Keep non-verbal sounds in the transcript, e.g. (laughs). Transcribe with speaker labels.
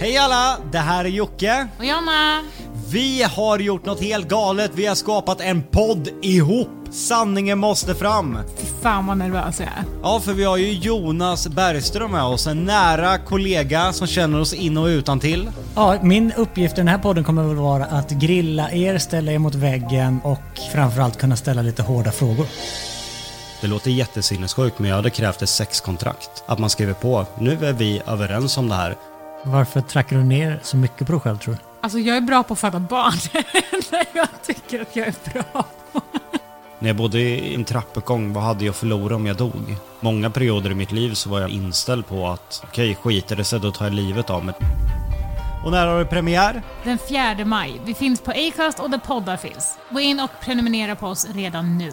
Speaker 1: Hej alla! Det här är Jocke.
Speaker 2: Och jag med.
Speaker 1: Vi har gjort något helt galet. Vi har skapat en podd ihop. Sanningen måste fram.
Speaker 2: Fy fan vad nervös jag är.
Speaker 1: Ja, för vi har ju Jonas Bergström med oss. En nära kollega som känner oss in och utan till.
Speaker 3: Ja, min uppgift i den här podden kommer väl vara att grilla er, ställa er mot väggen och framförallt kunna ställa lite hårda frågor.
Speaker 1: Det låter jättesinnessjukt, men jag hade krävt ett sexkontrakt. Att man skriver på. Nu är vi överens om det här.
Speaker 3: Varför trackar du ner så mycket på dig själv tror du?
Speaker 2: Alltså jag är bra på att föda barn. (laughs) Nej, jag tycker att jag är bra på.
Speaker 1: När jag bodde i en trappuppgång, vad hade jag förlorat om jag dog? Många perioder i mitt liv så var jag inställd på att okej, skiter det sig då tar jag livet av mig. Och när har du premiär?
Speaker 2: Den 4 maj. Vi finns på Acast och där poddar finns. Gå in och prenumerera på oss redan nu.